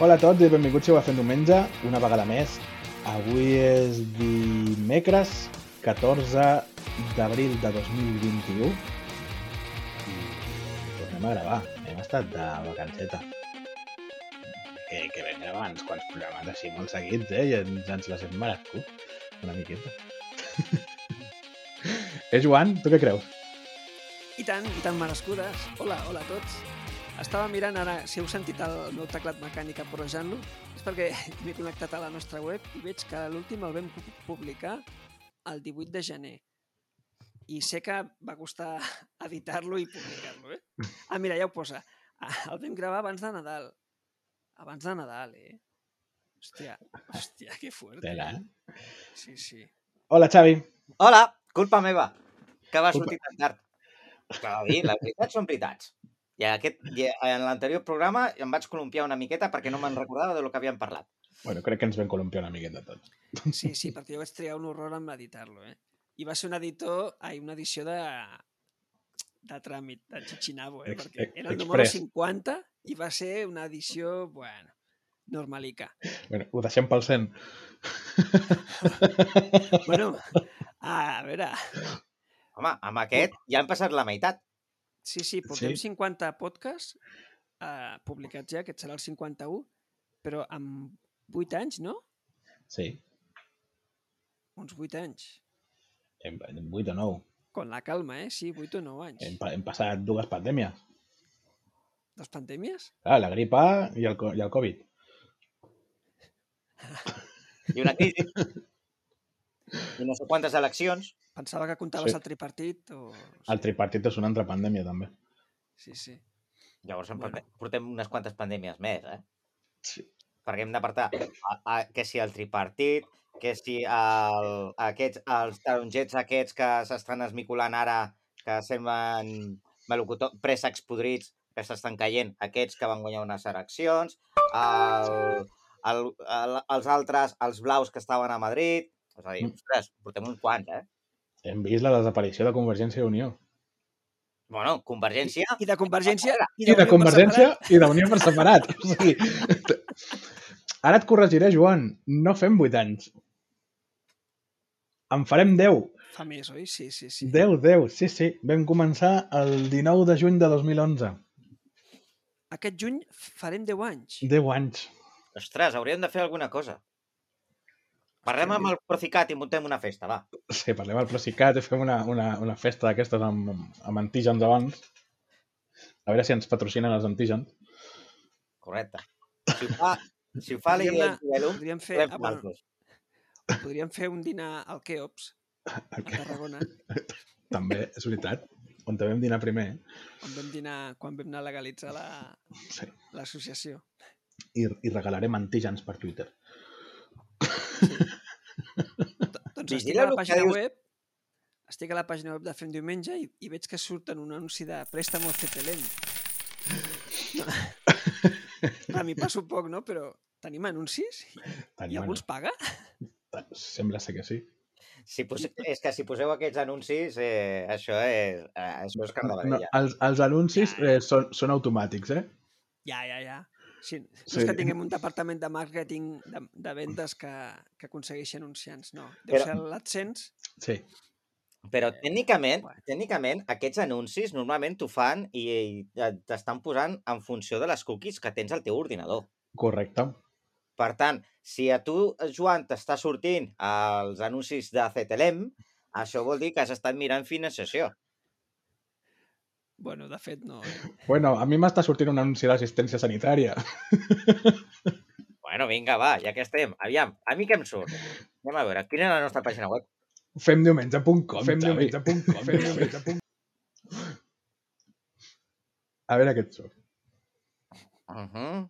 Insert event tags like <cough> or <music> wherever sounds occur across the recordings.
Hola a tots i benvinguts si ho ha fet diumenge, una vegada més. Avui és dimecres 14 d'abril de 2021 i tornem a gravar. Hem estat de vacanceta. Que, que vam gravar uns quants programes així molt seguits, eh? I ens, ens les hem merescut una miqueta. <laughs> eh, Joan, tu què creus? I tant, i tan merescudes. Hola, hola a tots. Estava mirant ara, si heu sentit el meu teclat mecànic aporrejant-lo, és perquè <laughs> m'he connectat a la nostra web i veig que l'últim el vam pu- publicar el 18 de gener. I sé que va costar <laughs> editar-lo i publicar-lo, eh? Ah, mira, ja ho posa. Ah, El vam gravar abans de Nadal. Abans de Nadal, eh? Hòstia, hòstia, que fort. Tela, eh? Sí, sí. Hola, Xavi. Hola, culpa meva, que va Culpa. sortir tan tard. Però bé, les veritats són veritats. I, aquest, i en l'anterior programa em vaig columpiar una miqueta perquè no me'n recordava del que havíem parlat. Bueno, crec que ens vam columpiar una miqueta tots. Sí, <laughs> sí, perquè jo vaig triar un horror amb editar-lo, eh? I va ser un editor, ai, una edició de de tràmit, de Chichinabo, eh? Ex- Perquè ex- era el número express. 50 i va ser una edició, bueno, normalica. Bueno, ho deixem pel 100. <laughs> Bueno, a veure, Home, amb aquest ja han passat la meitat. sí, sí, portem Sí. 50 podcasts eh, publicats ja, aquest serà el 51, però amb 8 anys, no? Sí, Uns 8 anys. hem, hem 8 o 9. Con la calma, eh? Sí, 8 o 9 anys. Hem, pa- hem passat dues pandèmies. Dos pandèmies? Clar, la grip A i el, co- i el Covid. I una crisi. I no sé quantes eleccions. Pensava que comptaves Sí. el tripartit o... El tripartit és una altra pandèmia, també. Sí, sí. Llavors en Bueno. portem, portem unes quantes pandèmies més, eh? Sí. Perquè hem d'apartar a- a- que si el tripartit, que si el, aquests, els tarongets aquests que s'estan esmiculant ara, que semblen melocotó, préssecs podrits que s'estan caient, aquests que van guanyar unes eleccions, el, el, el, els altres, els blaus que estaven a Madrid... És a dir, Mm. ostres, portem uns quants, eh? Hem vist la desaparició de Convergència i Unió. Bueno, Convergència... I de Convergència... I de Unió per Convergència separat. i d'Unió per separat. <laughs> O sigui, t- ara et corregiré, Joan. No fem 8 anys. En farem 10. Fa més, oi? Sí, sí, sí. 10, 10. Sí, sí. Vam començar el 19 de juny de 2011. Aquest juny farem 10 anys. 10 anys. Ostres, hauríem de fer alguna cosa. Parlem amb el Procicat i muntem una festa, va. Sí, parlem al Procicat i fem una, una, una festa d'aquestes amb, amb- amb antígens abans. A veure si ens patrocinen els antígens. Correcte. Si ho fa, si ho fa la Diguem-ne, Iglesia de Lum, Podríem fer, podem ah, bueno, posar-los. podríem fer un dinar al Keops, a Tarragona, També, és veritat. On te vam dinar primer. on vam dinar, quan vam anar a legalitzar la- Sí. l'associació. I, I regalarem antígens per Twitter. La doncs estic Vigila a la lo que pàgina dius. web estic a la pàgina web de Fem Diumenge i, i veig que surten un anunci de Préstamo CTLM. No. A mi passo poc, no? Però tenim anuncis? Tant, I algú ens paga? Sembla ser que sí. Si pose... És que si poseu aquests anuncis, eh, això és, eh, això és No, carnavalella. els, els anuncis eh, són, són automàtics, eh? Ja, ja, ja. Sí, no Sí. és que tinguem un departament de màrqueting de, de vendes que, que aconsegueixi anunciants, no. Deu Però- ser l'AdSense. Sí. Però tècnicament, Bueno. tècnicament aquests anuncis normalment t'ho fan i, i t'estan posant en funció de les cookies que tens al teu ordinador. Correcte. Per tant, si a tu, Joan, t'està sortint els anuncis de CTLM, això vol dir que has estat mirant financiació. Bueno, de fet, no. eh? Bueno, a mi m'està sortint un anunci d'assistència sanitària. Bueno, vinga, va, ja que estem. Aviam, a mi què em surt? Anem a veure, quina és la nostra pàgina web? Femdiumenge.com, Xavi. femdiumenge.com, femdiumenge.com. A veure què et surt. Uh -huh.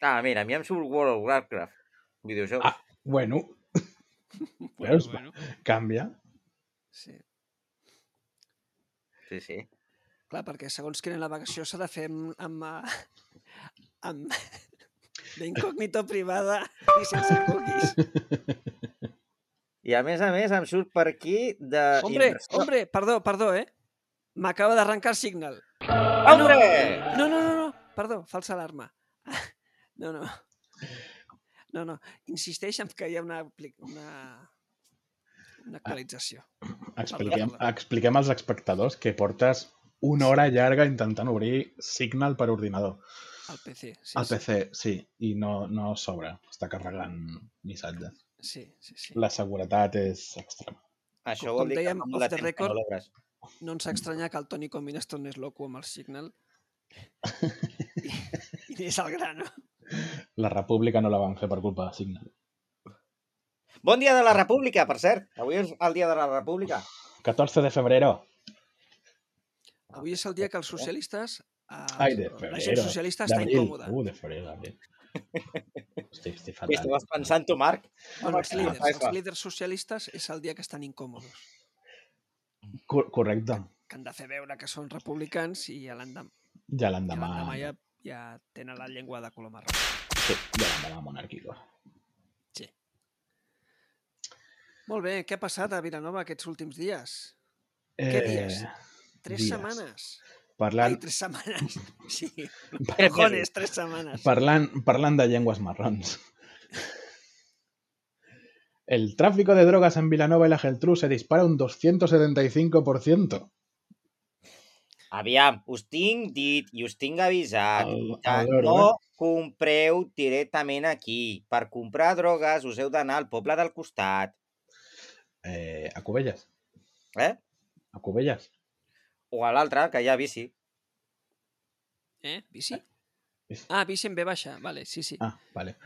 Ah, mira, a mi em surt World of Warcraft, videojoc. Ah. Bueno, Veus? canvia. Sí. Sí, sí. Clar, perquè segons quina navegació s'ha de fer amb... amb, eh, amb <laughs> d'incògnito privada i sense cookies. I a més a més em surt per aquí de... Hombre, inversió. hombre, perdó, perdó, eh? M'acaba Ah, d'arrencar el Signal. Hombre! No, no, no, no, perdó, falsa alarma. <laughs> No, no. No, no. Insisteix en que hi ha una, apli- una, una actualització. Expliquem, Parla, parla. expliquem als espectadors que portes una hora llarga intentant obrir Signal per ordinador. Al PC. Sí, Al PC, sí, i no, no s'obre. Està carregant missatges. Sí, sí, sí. La seguretat és extrema. Això Com- com vol dir que dèiem, fa off molt de the temps que record. no l'obres. No ens estranya que el Toni Comín es tornés loco amb el <laughs> Signal. I, i és el gran, no? La república no la van fer per culpa de Signal. Bon dia de la República, per cert. Avui és el dia de la República. 14 de febrero. Avui és el dia que els socialistes... eh, Ai, de la gent febrero. socialista està D'abril. incòmoda. Uh, de febrero, <laughs> d'abril. Estic, estic Què fatal. estaves pensant tu, Marc? Bueno, els, Ah, líders, clar. els líders socialistes és el dia que estan incòmodos, Cor correcte. que han de fer veure que són republicans i a l'endemà Ja i a l'endemà... l'endemà ja, ja tenen la llengua de color marró. Sí, ja l'endemà monàrquico. Molt bé, què ha passat a Vilanova aquests últims dies? Eh, Què dies? Tres dies. setmanes. Parlant, Ai, tres setmanes. <laughs> Sí, Tres cojones, tres setmanes. Parlant, parlant de llengües marrons. <laughs> El tráfico de drogas en Vilanova y la Geltrú se dispara un 275%. Aviam, us tinc dit i us tinc avisat Al- que alhora. no eh? compreu directament aquí. Per comprar drogues us heu d'anar al poble del costat. Eh, a Cubelles, Eh? a Cubelles. O a l'altre, que hi ha bici. Eh? Bici? Bici. Ah, bici en B baixa. Vale, sí, sí. Ah, vale.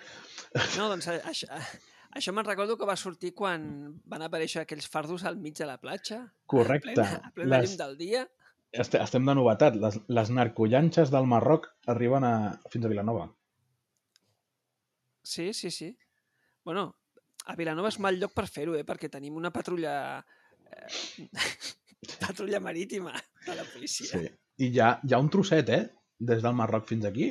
No, doncs a- això, a- això me'n recordo que va sortir quan van aparèixer aquells fardos al mig de la platja. Correcte. A plena, a plena Les- llum del dia. Este, estem de novetat. Les, les narcollanxes del Marroc arriben a, fins a Vilanova. Sí, sí, sí. Bueno, a Vilanova és mal lloc per fer-ho, eh? perquè tenim una patrulla... Eh, <laughs> patrulla marítima de la policia. Sí. I hi ha, hi ha un trosset, eh? Des del Marroc fins aquí,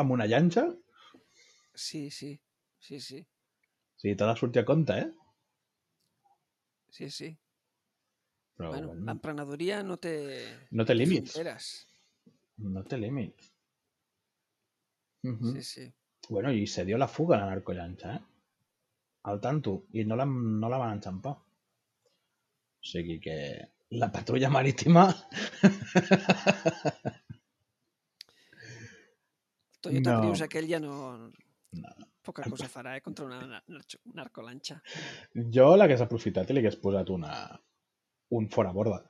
amb una llanxa. O Sí, sí, sí, sí, sigui, t'ha de sortir a compte, eh? sí, sí. Però Bueno, bueno, l'emprenedoria no té... no té límits. fronteres. No té límits. Mhm. Sí, sí. Bueno, y se dio la fuga la narcollanxa, eh? Al tanto. I no la, no la van enxampar. O sigui que la patrulla marítima... Toyota No. no. Prius aquell ja no... No. Poca cosa farà, eh? Contra una nar- narco- narcolanxa. Jo l'hagués aprofitat i li hagués posat una... un fora borda.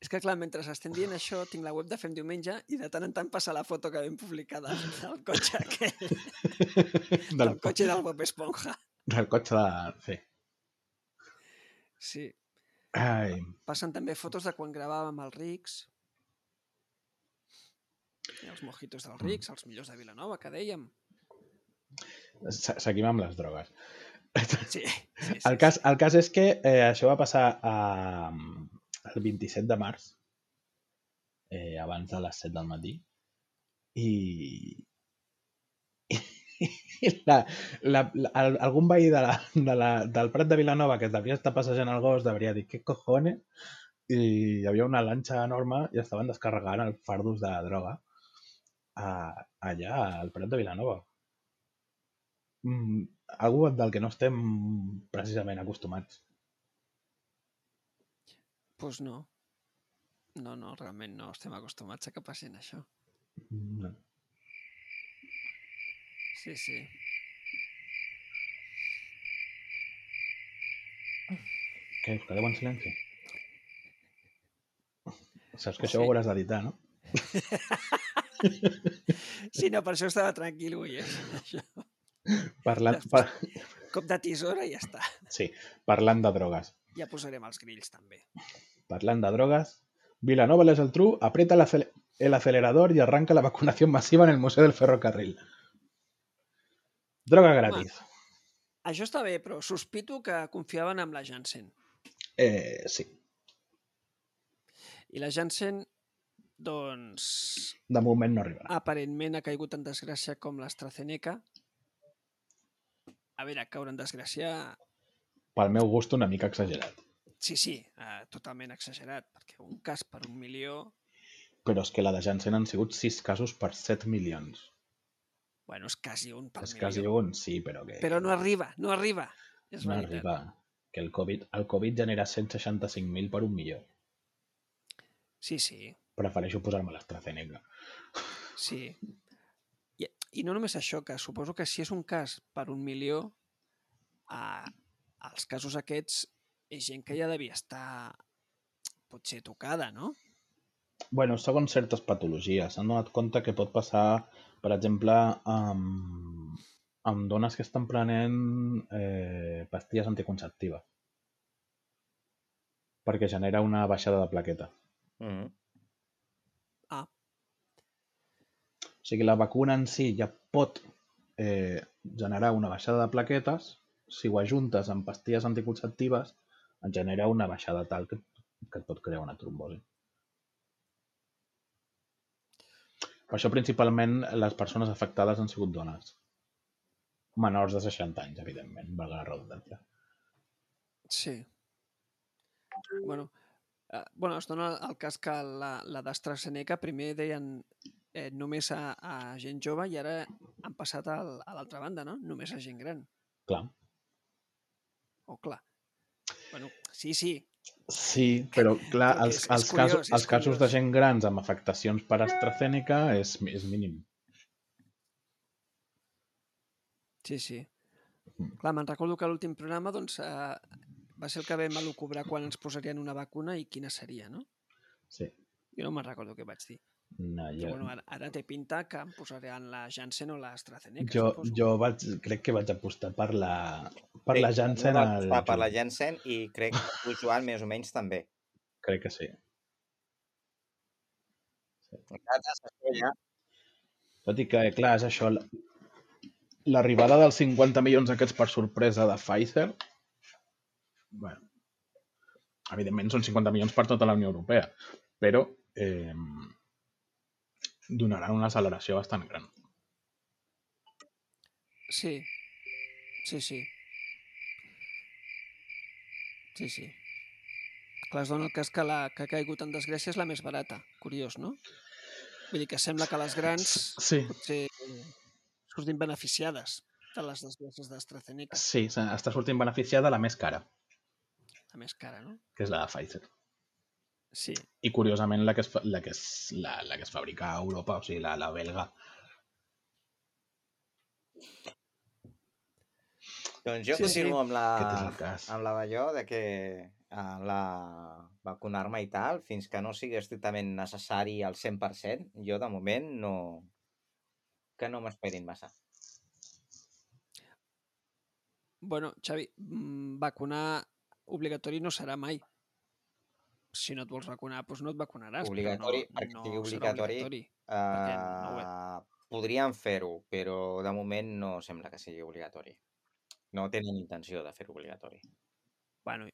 És que, clar, mentre estem dient això, tinc la web de Fem Diumenge i de tant en tant passa la foto que vam publicar del, del cotxe aquell, Del, del cotxe del Bob Esponja. del cotxe de... Sí. Sí. Ai, Passen també fotos de quan gravàvem els rics. I els mojitos dels rics, els millors de Vilanova, que dèiem. se- seguim amb les drogues. Sí, sí, sí, El cas, el cas és que eh, això va passar a, el 27 de març, eh, abans de les 7 del matí, i, i la, la, la, el, algun veí de la, de la, del Prat de Vilanova que devia estar passejant el gos devia dir, què cojones? I hi havia una lanxa enorme i estaven descarregant el fardus de droga a, allà, al Prat de Vilanova mm, algú del que no estem precisament acostumats. Pues no. No, no, realment no estem acostumats a que passin això. No. Sí, sí. Què, us quedeu en silenci? Saps que Sí. això ho hauràs d'editar, no? Sí, no, per això estava tranquil avui. Eh? <laughs> Això. Parlant, pa, Cop de tisora i ja està. sí, parlant de drogues. Ja posarem els grills, també. Parlant de drogues, Vilanova i la Geltrú aprieta el, acel- el acelerador y arranca la vacunación masiva en el Museo del Ferrocarril. Droga gratis. Això està bé, però sospito que confiaven amb la Janssen. Eh, sí, I la Janssen, doncs, de moment no arribarà. aparentment ha caigut en desgràcia com l'AstraZeneca. A veure, caure en desgràcia... Pel meu gust una mica exagerat. Sí, sí, eh, totalment exagerat, perquè un cas per un milió... Però és que la de Janssen han sigut 6 casos per 7 milions. Bueno, és quasi un pel És milió. quasi un, sí, però que Però no arriba, no arriba. És no veritat. arriba. Que el Covid, el Covid genera 165.000 per un milió. Sí, sí, Prefereixo posar-me l'AstraZeneca. sí. I, I no només això, que suposo que si és un cas per un milió, a, als casos aquests és gent que ja devia estar potser tocada, no? bueno, segons certes patologies. S'han donat compte que pot passar, per exemple, amb, amb dones que estan prenent eh, pastilles anticonceptives. Perquè genera una baixada de plaqueta. Mm. O sigui, la vacuna en si ja pot eh, generar una baixada de plaquetes. Si ho ajuntes amb pastilles anticonceptives, et genera una baixada tal que, que et pot crear una trombosi. Per això, principalment, les persones afectades han sigut dones. Menors de 60 anys, evidentment, valga la redundància. Sí. Bueno, eh, bueno es dona el cas que la, la d'AstraZeneca primer deien eh, només a, a gent jove i ara han passat al, a l'altra banda, no? Només a gent gran. Clar. O clar. Bueno, sí, sí. Sí, però clar, Perquè els, és- és els, curiós, casos, és els casos de curiós. gent grans amb afectacions per AstraZeneca és, és mínim. Sí, sí. Mm. Clar, me'n recordo que l'últim programa doncs, eh, va ser el que vam elucubrar quan ens posarien una vacuna i quina seria, no? Sí. Jo no me'n recordo què vaig dir. No, Però, jo, bueno, ara, ara té pinta que em posaran la Janssen o l'AstraZeneca. Jo, Eh, suposo. jo vaig, crec que vaig apostar per la, per la Janssen. No, no, al- per la Janssen i crec que tu, Joan, més o menys també. Crec que sí. Encara t'has de fer ja. Tot i que, clar, és això. la- L'arribada dels 50 milions aquests per sorpresa de Pfizer, bueno, evidentment són 50 milions per tota la Unió Europea, però eh, donaran una acceleració bastant gran. Sí. Sí, sí. Sí, sí. Clar, es dona el cas que la que ha caigut en desgràcia és la més barata. Curiós, no? Vull dir que sembla que les grans Sí, potser surtin beneficiades de les desgràcies d'AstraZeneca. sí, se- està sortint beneficiada la més cara, La més cara, no? que és la de Pfizer. Sí. i curiosament la que es, fa- la que es, la, la que es fabrica a Europa, o sigui, la, la belga. Doncs jo Sí, sí, sí. continuo amb la, Aquest és el cas. amb la d'allò de que a la vacunar-me i tal, fins que no sigui estrictament necessari al 100%, jo de moment no... que no m'esperin massa. Bueno, Xavi, mm, vacunar obligatori no serà mai. Si no et vols vacunar, doncs no et vacunaràs. però Obligatori, no, perquè no sigui serà obligatori, obligatori. Perquè no ho Uh, podríem fer-ho, però de moment no sembla que sigui obligatori. No tenen intenció de fer-ho obligatori. Bueno,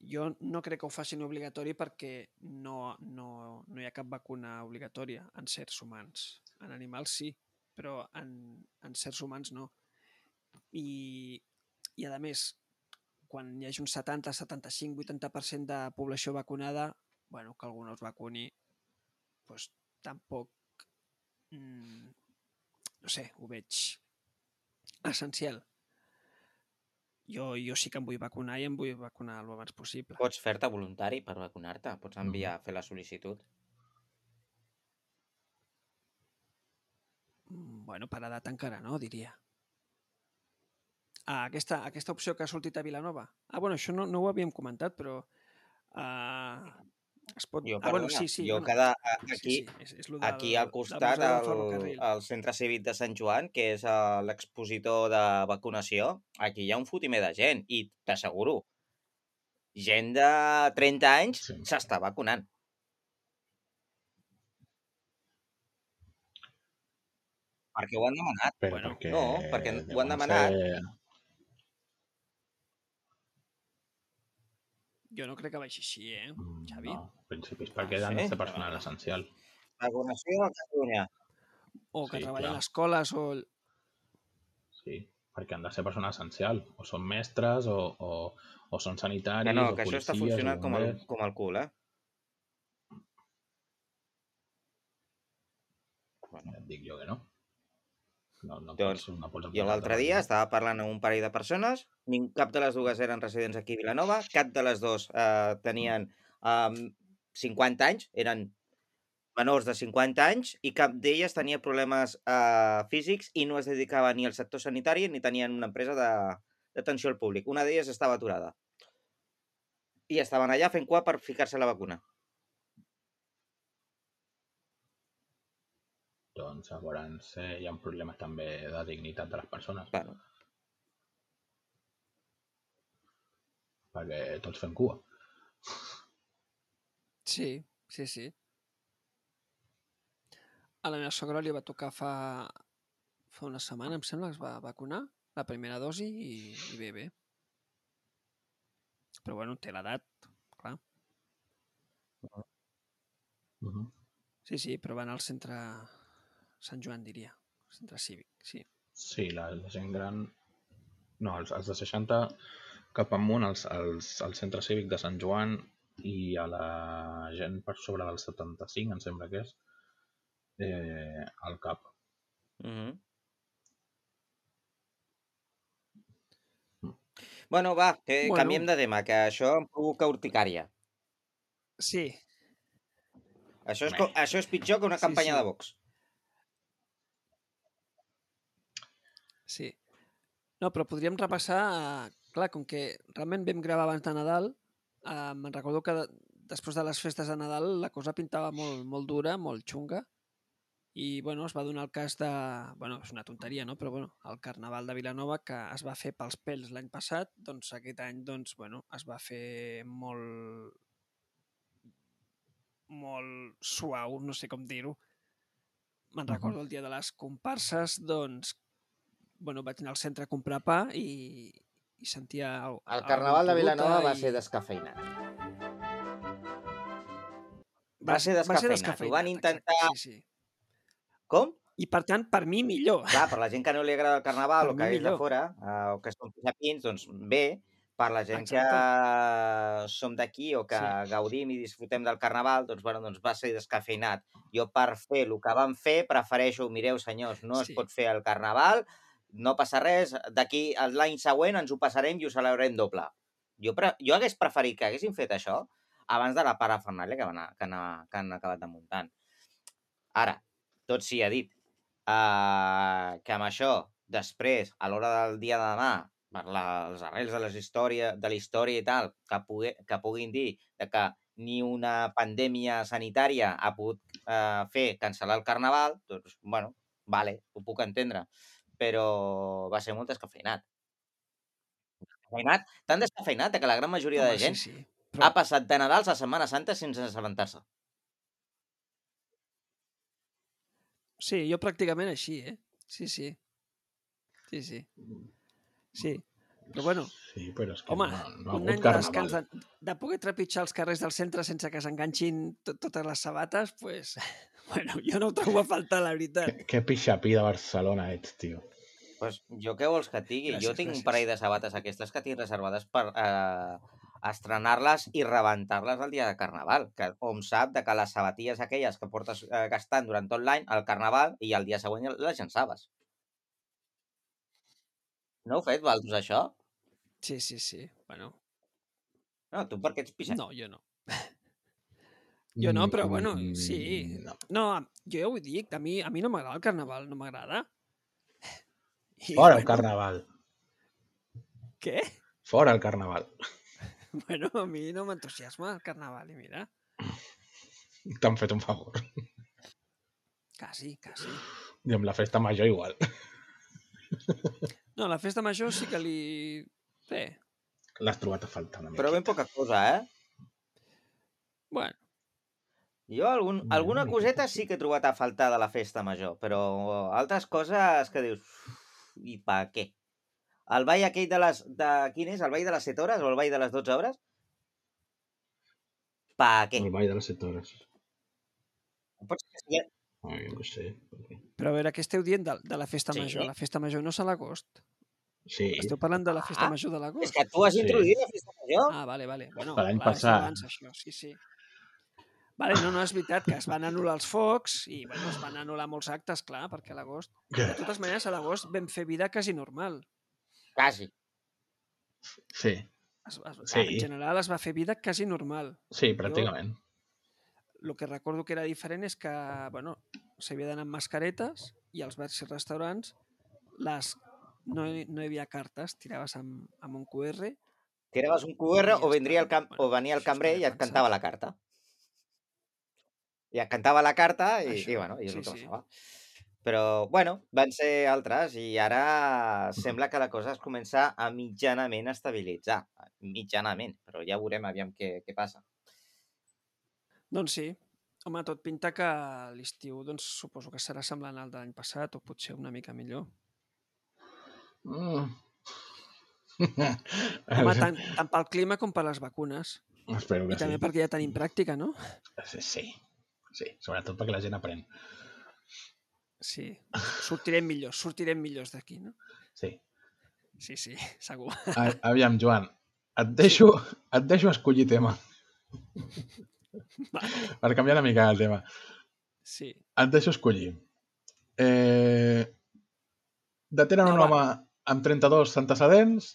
jo no crec que ho facin obligatori perquè no, no, no hi ha cap vacuna obligatòria en certs humans. En animals sí, però en, en certs humans no. I, i a més, quan hi hagi un 70, 75, 80% de població vacunada, bueno, que algú no es vacuni, doncs tampoc... Mm, no sé, ho veig essencial. Jo, jo sí que em vull vacunar i em vull vacunar el abans possible. Pots fer-te voluntari per vacunar-te, pots enviar a fer la sol·licitud. Mm, Bueno, per edat encara no, diria. Ah, aquesta, aquesta opció que ha sortit a Vilanova. Ah, bueno, això no, no ho havíem comentat, però... Ah, es pot... Jo, ah, bueno, perdona, sí, sí. jo bueno, cada, a- sí, aquí, sí, és, és lo del, aquí al del costat, museu del al, ferrocarril. al Centre Cívic de Sant Joan, que és eh, l'expositor de vacunació, aquí hi ha un fotimer de gent, i t'asseguro, gent de 30 anys Sí. s'està vacunant. Perquè ho han demanat. Però Bueno, perquè eh, no, perquè ho han deuen demanat. Ser... Jo no crec que vagi així, eh, Mm, Xavi? No, en principis perquè Ah, han de sí? ser personal essencial. Vacunació a Catalunya. O que sí, sí, treballen clar. a escoles o... el- Sí, perquè han de ser personal essencial. O són mestres, o, o, o són sanitaris, Que no, o que això policies, està funcionant o com el, bombers. com el cul, eh? Bueno, Eh, Ja et dic jo que no. No, no Doncs, pots, no pots Jo aplicar l'altre altres, dia no? estava parlant amb un parell de persones, nin- cap de les dues eren residents aquí a Vilanova, cap de les dues eh, tenien eh, 50 anys, eren menors de 50 anys, i cap d'elles tenia problemes eh, físics i no es dedicava ni al sector sanitari ni tenien una empresa de- d'atenció al públic. Una d'elles estava aturada. I estaven allà fent cua per ficar-se la vacuna. Doncs llavors eh, hi ha problemes també de dignitat de les persones, Bueno, perquè tots fem cua. Sí, sí, sí. A la meva sogra li va tocar fa, fa una setmana, em sembla, que es va vacunar, la primera dosi, i, i bé, bé. Però bueno, té l'edat, clar. Uh Mhm. -huh. Sí, sí, però va anar al centre Sant Joan, diria. Centre cívic, sí. Sí, la, la gent gran... No, els, els de 60 cap amunt, els, els, el centre cívic de Sant Joan i a la gent per sobre dels 75, em sembla que és, eh, al cap. Mm Bueno, va, que Mm. Bueno. canviem de tema, que això em provoca urticària. Sí, Això és, co- això és pitjor que una Sí, campanya sí. de Vox. sí. No, però podríem repassar... eh, Clar, com que realment vam gravar abans de Nadal, eh, me'n recordo que de- després de les festes de Nadal la cosa pintava molt, molt dura, molt xunga, i bueno, es va donar el cas de... Bueno, és una tonteria, no? Però bueno, el Carnaval de Vilanova, que es va fer pels pèls l'any passat, doncs aquest any doncs, bueno, es va fer molt molt suau, no sé com dir-ho. Me'n Mhm. recordo el dia de les comparses, doncs, bueno, vaig anar al centre a comprar pa i, i sentia... El, El Carnaval de Vilanova va ser de descafeinat. Va ser descafeinat. Ho van intentar... exacte, Sí, sí. Com? I per tant, per mi millor. Clar, per la gent que no li agrada el carnaval Per o mi que és de millor. fora, eh, o que són pins, doncs bé. Per la gent que som d'aquí o que Sí. gaudim i disfrutem del carnaval, doncs, bueno, doncs va ser descafeinat. Jo per fer el que van fer prefereixo, mireu senyors, no Sí. es pot fer el carnaval, no passa res, d'aquí a l'any següent ens ho passarem i ho celebrem doble. Jo, pre jo hagués preferit que haguessin fet això abans de la parafernàlia que, van a, que, han, que han acabat de muntant. Ara, tot s'hi ha dit. Uh, que amb això, després, a l'hora del dia de demà, per la, els arrels de, les història, de la història i tal, que, pugui, que puguin dir de que ni una pandèmia sanitària ha pogut eh, fer cancel·lar el carnaval, doncs, bueno, vale, ho puc entendre. Però va ser molt descafeinat. Descafeinat, tan descafeinat que la gran majoria Home, de gent Sí, sí. ha passat de Nadal a Setmana Santa sense assabentar-se. Sí, jo pràcticament així, eh? Sí, sí. Sí, sí. Sí. Però bueno, Sí, però és que Home, no, no ha un hagut any de descans carnaval. de, de poder trepitjar els carrers del centre sense que s'enganxin to totes les sabates, pues, <laughs> bueno, jo no ho trobo a faltar, la veritat. Que pixapí de Barcelona ets, tio. Pues jo què vols que et digui? Gràcies, jo Gràcies, tinc gràcies. gràcies. un parell de sabates aquestes que tinc reservades per eh, estrenar-les i rebentar-les el dia de Carnaval. Que hom sap de que les sabatilles aquelles que portes eh, gastant durant tot l'any, al Carnaval, i el dia següent ja les llançaves. No heu fet, Valdos, això? Sí, sí, sí. Bueno, No, tu perquè ets pixat. no, jo no. Jo no, però bueno, Mm, sí. No. No, a- jo ja ho dic, a mi, a mi no m'agrada el carnaval, no m'agrada. I, Fora el carnaval. Què? <laughs> Fora el carnaval. Bueno, a mi no m'entusiasma el carnaval, i mira, T'han fet un favor. quasi, quasi. I amb la festa major igual. No, la festa major sí que li... Bé, L'has trobat a faltar una mica. Però ben poca cosa, eh? bueno, Jo algun, Una alguna mica coseta sí. sí que he trobat a faltar de la festa major, però altres coses que dius... "Uf, I per què? El ball aquell de les... De, quin és? El ball de les 7 hores o el ball de les 12 hores? Per què? El ball de les 7 hores. Pots que sigui- Ah, jo què sé. però a veure, què esteu dient de, de la festa Sí. major? La festa major no és a l'agost. Sí, Esteu parlant de la festa Ah, major de l'agost? És que tu has Sí. introduït la festa major? Ah, vale, vale. Bueno, Per l'any clar, és passat. Abans, això, sí, sí. Vale, no, no, és veritat que es van anul·lar els focs i bueno, es van anul·lar molts actes, clar, perquè a l'agost... Que- De totes maneres, a l'agost vam fer vida quasi normal. Quasi. Sí, Es, es, Sí. En general es va fer vida quasi normal. sí, pràcticament. El que recordo que era diferent és que bueno, s'havia d'anar amb mascaretes i als bars i restaurants les, no, hi- no hi havia cartes, tiraves amb, amb un QR. Tiraves un QR o, vendria ¿eh? el camp, o venia el Això està cambrer i et defensat. cantava la carta. I et cantava la carta i, Això, i bueno, i és sí, el que sí. passava. Però, bueno, van ser altres i ara sembla que la cosa es comença a mitjanament estabilitzar. Mitjanament, però ja veurem aviam què, què passa. Doncs sí, home, tot pinta que l'estiu doncs, suposo que serà semblant al de l'any passat o potser una <laughs> mica millor. Mm. Home, tant, tant pel clima com per les vacunes. <laughs> Espero I que també sí. perquè ja tenim pràctica, no? Sí, sí. Sí, sobretot perquè la gent aprèn. Sí, sortirem millors, sortirem millors d'aquí, no? Sí. Sí, sí, <laughs> segur. A- Aviam, Joan, et deixo, et deixo escollir tema, <laughs> Va, per canviar una mica el tema. sí. Et deixo escollir. Eh, detenen No, un va. home amb 32 antecedents,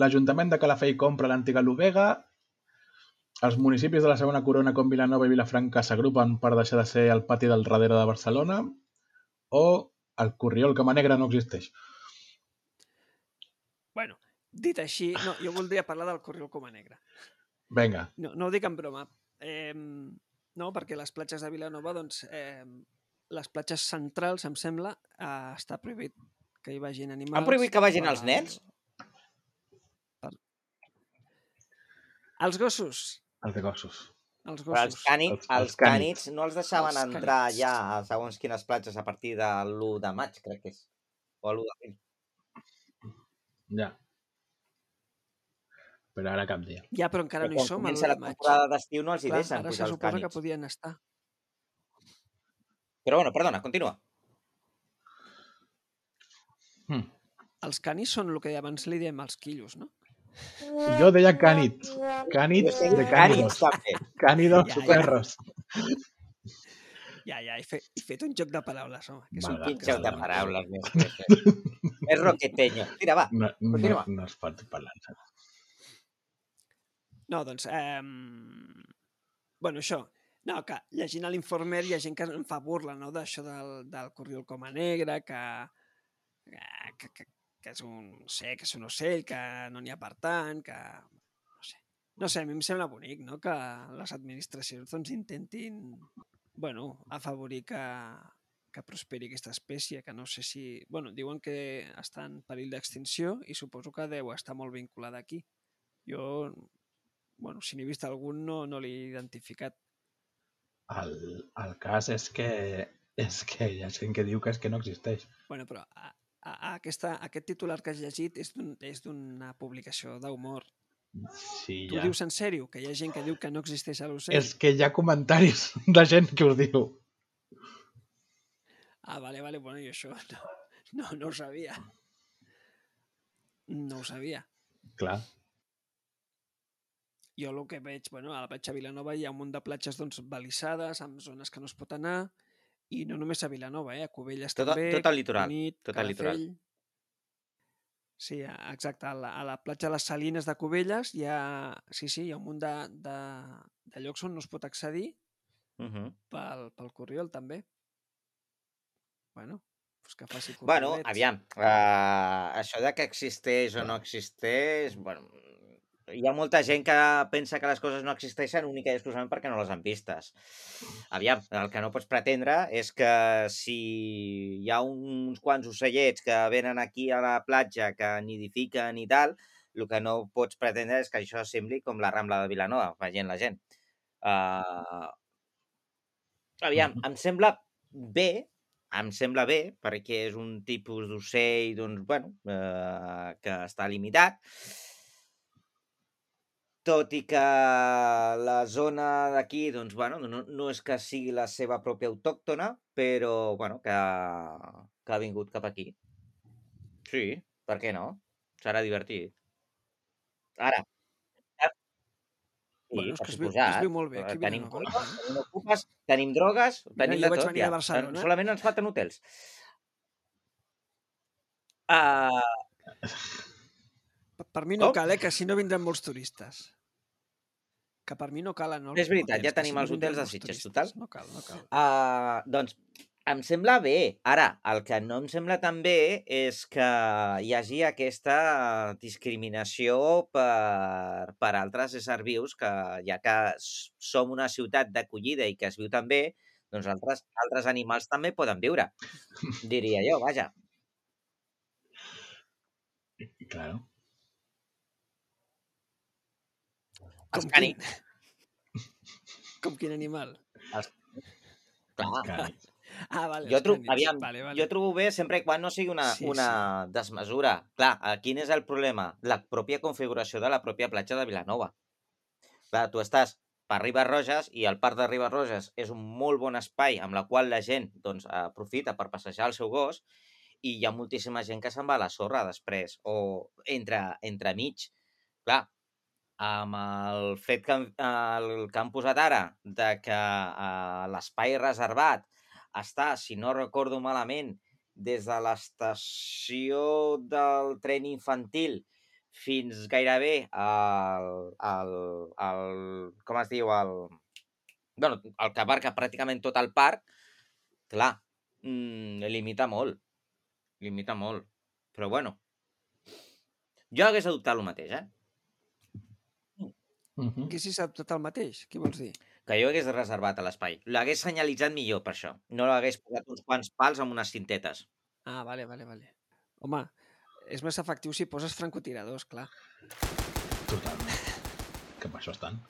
l'Ajuntament de Calafell compra l'antiga Lubega, els municipis de la segona corona com Vilanova i Vilafranca s'agrupen per deixar de ser el pati del darrere de Barcelona o el corriol Cama Negra no existeix. Bueno, dit així, no, jo voldria parlar del Corriol Coma Negra. Vinga, No, no ho dic en broma. Eh, no, perquè les platges de Vilanova, doncs, eh, les platges centrals, em sembla, eh, està prohibit que hi vagin animals. prohibit que vagin per- els nens? Per... Els gossos. els de gossos. Els Però els gossos. cànids, Els- els, els cànids. cànids no els deixaven Els entrar cànids. ja a segons quines platges a partir de l'1 de maig, crec que és. O l'1 d'abril. Ja. Però ara cap dia. Ja, però encara Però no hi quan som. comença l'u la de maig. temporada d'estiu no els hi Clar, deixen ara pujar se els suposa que cànids. podien estar. Però bueno, perdona, continua. Hm. Els canis són el que abans li diem els quillos, no? Jo deia cànids. Cànids de cànidos. Cànids, <laughs> també. Cànidos Ja, ja. perros. Ja, ja, he fet, he fet un joc de paraules, home. Que és un Vale. Quin podcast. joc de Perdona. <laughs> paraules més. que això. És roqueteño. Tira, va. No, no, Continua. no es pot parlar. No, doncs... Eh... Bueno, això. No, que llegint a l'informer hi ha gent que en fa burla, no?, d'això del, del Corriol Coma Negra, que, eh, que, que, que és un, no sé, que és un ocell, que no n'hi ha per tant, que... No sé. no sé, a mi em sembla bonic, no?, que les administracions doncs, intentin, bueno, afavorir que, que prosperi aquesta espècie, que no sé si... Bueno, diuen que està en perill d'extinció i suposo que deu estar molt vinculada aquí. Jo bueno, si n'he vist algun no, no l'he identificat. El, el cas és que és que hi ha gent que diu que és que no existeix. Bueno, però a, a, a aquesta, aquest titular que has llegit és d'un- és d'una publicació d'humor. Sí, Tu ja. dius en sèrio que hi ha gent que diu que no existeix a l'ocell? És que hi ha comentaris de gent que us diu. Ah, vale, vale, bueno, jo això no, no, no ho sabia. No ho sabia. Clar, Jo el que veig, bueno, a la platja Vilanova hi ha un munt de platges doncs, balissades, amb zones que no es pot anar, i no només a Vilanova, eh? a Cubelles Tota, Tot, també, tot el litoral. Cunit, tot el litoral. Calafell. Sí, a- exacte. A la, a la platja de les Salines de Cubelles hi ha, sí, sí, hi ha un munt de, de, de llocs on no es pot accedir Uh -huh. pel, pel Corriol, també. Bueno, doncs que faci Bueno, corriolets. aviam. Uh, això de que existeix o no existeix... Bueno, hi ha molta gent que pensa que les coses no existeixen única i exclusivament perquè no les han vistes. Aviam, el que no pots pretendre és que si hi ha uns quants ocellets que venen aquí a la platja que nidifiquen i tal, el que no pots pretendre és que això sembli com la Rambla de Vilanova, veient la gent. Uh, aviam, em sembla bé, em sembla bé, perquè és un tipus d'ocell, doncs, bueno, eh, que està limitat, tot i que la zona d'aquí, doncs, bueno, no, no és que sigui la seva pròpia autòctona, però, bueno, que, que ha vingut cap aquí. Sí, per què no? Serà divertit. Ara, Bueno, és per que es viu- suposat, es viu molt bé, eh, aquí a tenim, Vilanova. copes, tenim ocupes, tenim drogues, tenim jo de vaig tot venir ja. de Barcelona. Solament ens falten hotels. Ah. Uh, Per- Per mi no Com? cal, eh, que si no vindran molts turistes. Que per mi no calen. No, És veritat, hotels, ja que tenim no els vindran hotels de molts Sitges, turistes. total. No cal, no cal. uh, doncs em sembla bé. Ara, el que no em sembla tan bé és que hi hagi aquesta discriminació per, per altres éssers vius, que ja que s- som una ciutat d'acollida i que es viu tan bé, doncs altres, altres animals també poden viure, diria jo, vaja. Claro. Els Com cani- quin? Com quin animal? Clar, Canis. Ah, vale, Jo els trobo- cànids. aviam, vale, vale. Jo trobo bé sempre i quan no sigui una, Sí, sí, una sí. desmesura. Clar, eh, quin és el problema? La pròpia configuració de la pròpia platja de Vilanova. Clar, tu estàs per Ribes Roges i el parc de Ribes Roges és un molt bon espai amb la qual la gent doncs, aprofita per passejar el seu gos i hi ha moltíssima gent que se'n va a la sorra després o entre, entre mig. Clar, amb el fet que, han- el que han posat ara de que eh, l'espai reservat està, si no recordo malament, des de l'estació del tren infantil fins gairebé al, al, al com es diu, al, bueno, el que abarca pràcticament tot el parc, clar, mm, limita molt, limita molt. Però bueno, jo hagués adoptat el mateix, eh? ah. Mhm. Qui s'hi sap tot el mateix? Què vols dir? que jo hagués reservat a l'espai. L'hagués senyalitzat millor, per això. No l'hagués posat uns quants pals amb unes cintetes. Ah, vale, vale, vale. Home, és més efectiu si poses francotiradors, clar. Totalment. Que per això estan.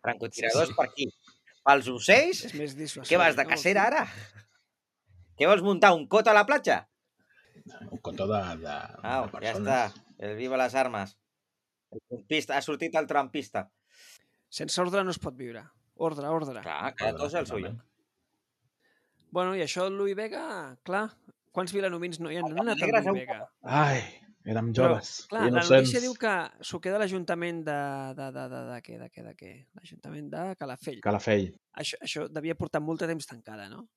Francotiradors Sí, sí, sí. per aquí. Pels ocells? És més dissuasiu. Què vas, de no? cacera, ara? Què vols muntar, un cot a la platja? Un cotó de, de, Au, de Ah, ja persones. està. El viva les armes. El trumpista, ha sortit el trampista. Sense ordre no es pot viure. Ordre, ordre. Clar. Clar, cada dos Ah, al seu lloc. Totalment. Bueno, i això del Louis Vega, clar, quants vilanomins no hi ha? No han anat al Negres Louis heu Vega. Ai, érem joves. Clar, la innocents. notícia diu que s'ho queda l'Ajuntament de... De, de, de, de, què, de què, de què? L'Ajuntament de Calafell. Calafell. Això, això devia portar molt de temps tancada, no?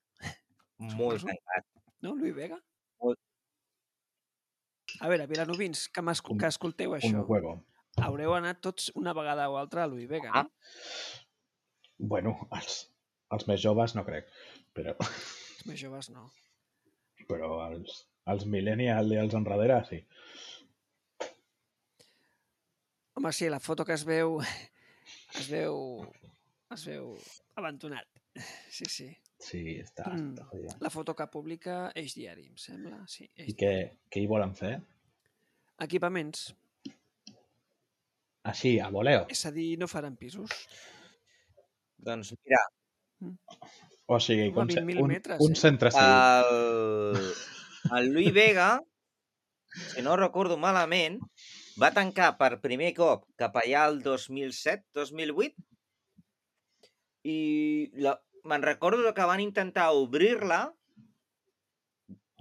Molt Suposo. tancat. No, Louis Vega? Molt. A veure, vilanovins, que, m'escu- que escolteu Un això. juego. Haureu anat tots una vegada o altra a Louis Vega, Ah. no? Bueno, els, els més joves no crec, però, Els més joves no. però els, els millennials i els enrere sí. Home, sí, la foto que es veu... Es veu... Es veu abandonat. Sí, sí. Sí, està, Mm. està jodida. La foto que publica Eix Diari, em sembla. Sí, Eix I què, què hi volen fer? Diari. Equipaments. Així, Ah, a voleo. És a dir, no faran pisos. Doncs mira, O sigui, Home, com se- 20.000 un, metres, un eh? centre Ah, civil. El, el Louis Vega, si no recordo malament, va tancar per primer cop cap allà el 2007-2008 i la, me'n recordo que van intentar obrir-la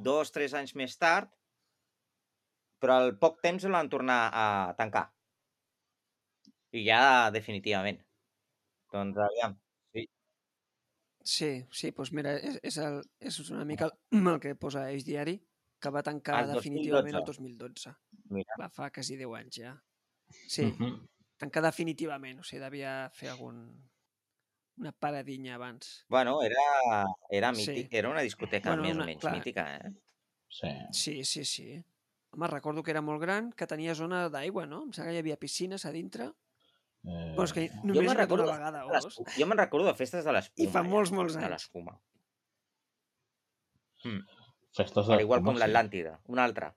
dos, tres anys més tard, però al poc temps l'han tornar a tancar. I ja definitivament. Doncs aviam. Sí, sí, doncs mira, és, és, el, és una mica el, <clears throat> el que posa Eix Diari, que va tancar El definitivament el 2012. Mira. Va fa quasi 10 anys ja. Sí, Mhm. tancar definitivament, o sigui, devia fer algun... una paradinya abans. Bueno, era, era, Sí. mític, era una discoteca Bueno, més una- o menys clar. mítica, eh? Sí. Sí, sí, sí. Home, recordo que era molt gran, que tenia zona d'aigua, no? Em sembla que hi havia piscines a dintre. Eh, Però és Pues que me'n només hi ha anat recordo una de vegada o de dos. l'escu- Jo me'n recordo de festes de l'espuma. eh? I fa molts, molts De anys. l'escuma. Festes de Però igual com sí. l'Atlàntida, una altra.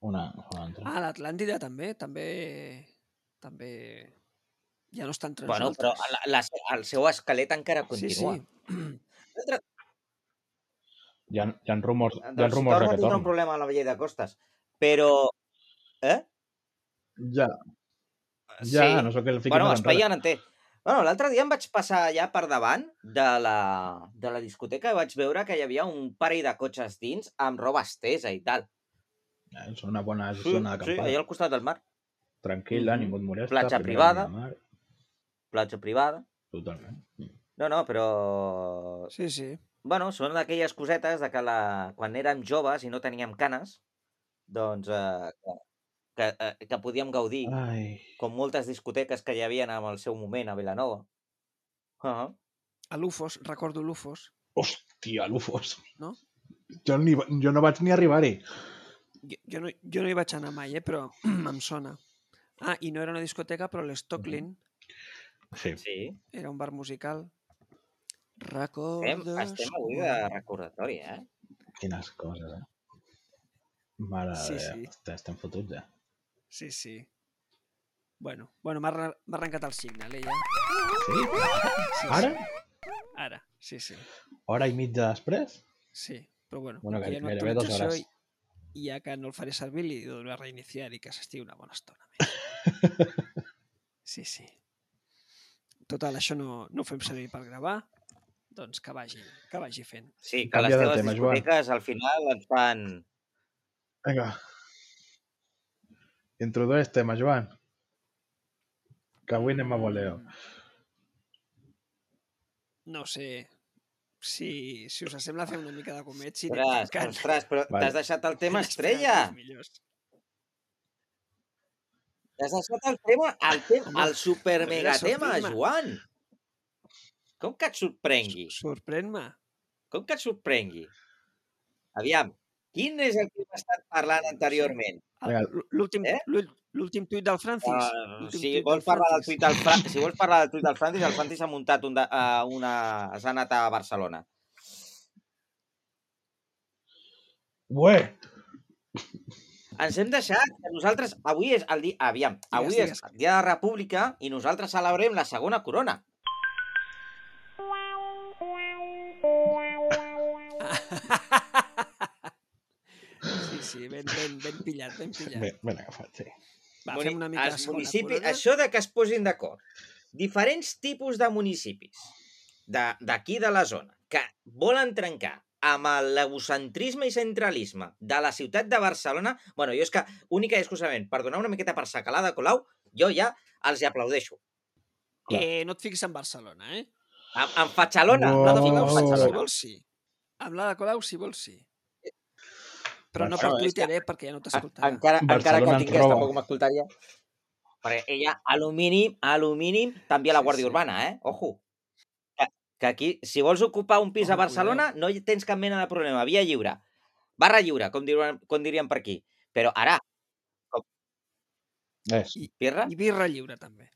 Una, una altra. Ah, l'Atlàntida també, també... També... Ja no està entre Bueno, però nosaltres. la, la, el seu esquelet encara continua. Sí, sí. Altra- Hi ha, hi ha rumors, hi ha Doncs rumors de torna a que tindre un torni. problema a la Vella de Costes. Però... Eh? Ja, ja, Ah, sí. no sé què el fiquem bueno, més espai enrere. ja n'en té. Bueno, l'altre dia em vaig passar allà per davant de la, de la discoteca i vaig veure que hi havia un parell de cotxes dins amb roba estesa i tal. Eh, És una bona Sí, zona sí, d'acampada. allà al costat del mar. tranquil·la, Mhm. ningú et molesta. Platja primera privada. de mar, platja privada. Totalment. Mm. No, no, però... Sí, sí. Bueno, són d'aquelles cosetes de que la... quan érem joves i no teníem canes, doncs eh, que, que, eh, que podíem gaudir, Ai, com moltes discoteques que hi havia en el seu moment a Vilanova. Uh -huh. A l'UFOS, recordo l'UFOS. hòstia, l'UFOS. No? Jo, ni, va- jo no vaig ni arribar-hi. Jo, jo, no, jo no hi vaig anar mai, eh, però <clears throat> em sona. Ah, i no era una discoteca, però l'Stocklin Sí. Sí, era un bar musical. estem, Recordes... estem avui quan- de recordatori, eh? Quines coses, eh? Mare Sí, de sí. Déu, hòstia, estem fotuts, eh? Sí, sí. Bueno, bueno m'ha arra- m'ha arrencat el signal, ella. Sí? Sí, Ara? Sí. Ara, sí, sí. Hora i mitja després? Sí, però bueno, Bueno, com que hi ha una gairebé dues actualització hores. i ja que no el faré servir, li dono a reiniciar i que s'estigui una bona estona. Més. <laughs> Sí, sí. Total, això no, no ho fem servir per gravar, doncs que vagi, que vagi fent. Sí, que les Canvia de teves tema, Joan. discoteques al final ens fan... Vinga. Introdueix tema, Joan. Que avui anem a voleo. No ho sé si, si us sembla fer una mica de comets i anem Ostres, tancant. ostres, però Vale. t'has deixat el <laughs> tema Espera, estrella! els millors. T'has deixat el tema, el, tema, Home, el super mega mira, tema, sorprèn-me. Joan. Com que et sorprengui? Sorprèn-me. Com que et sorprengui? Aviam, quin és el que hem estat parlant anteriorment? Ah, Vinga. l- L'últim Eh? eh? l'últim tuit del Francis. Uh, l'últim si, tuit vols parlar del Francis. tuit del Fra... si vols parlar del tuit del Francis, el Francis ha muntat un de, uh, una... S'ha anat a Barcelona. Ué! Ens hem deixat que nosaltres... Avui és el dia... Aviam, avui Digues, és el dia de la República i nosaltres celebrem la segona corona. Sí, sí, ben, ben, ben pillat, ben pillat. Ben, ben agafat, sí. Va, Muni- fem una mica de els segona municipi, corona. Això de que es posin d'acord. Diferents tipus de municipis de- d'aquí de, la zona que volen trencar amb l'egocentrisme i centralisme de la ciutat de Barcelona, bueno, jo és que única i exclusivament per donar una miqueta per secalar de Colau, jo ja els hi aplaudeixo. Clar. Eh, no et fixis en Barcelona, eh? Em, em Fatxalona, Oh. no, Amb la de no, Colau, Oh. sí, si Fatxalona. vols, sí. Amb la de Colau, si vols, sí. Però no Això per és Twitter, eh? Perquè ja no En- t'escoltarà. Encara, encara que Barcelona el ens tingués, roba. tampoc m'escoltaria. Perquè ella, a lo mínim, a lo mínim, també a la Sí, Guàrdia sí. Urbana, eh? Ojo. Que, que aquí, si vols ocupar un pis a Home, Barcelona, no hi tens cap mena de problema. Via lliure. Barra lliure, com diríem, com diríem per aquí. Però ara, És. Pirra, I birra lliure, també.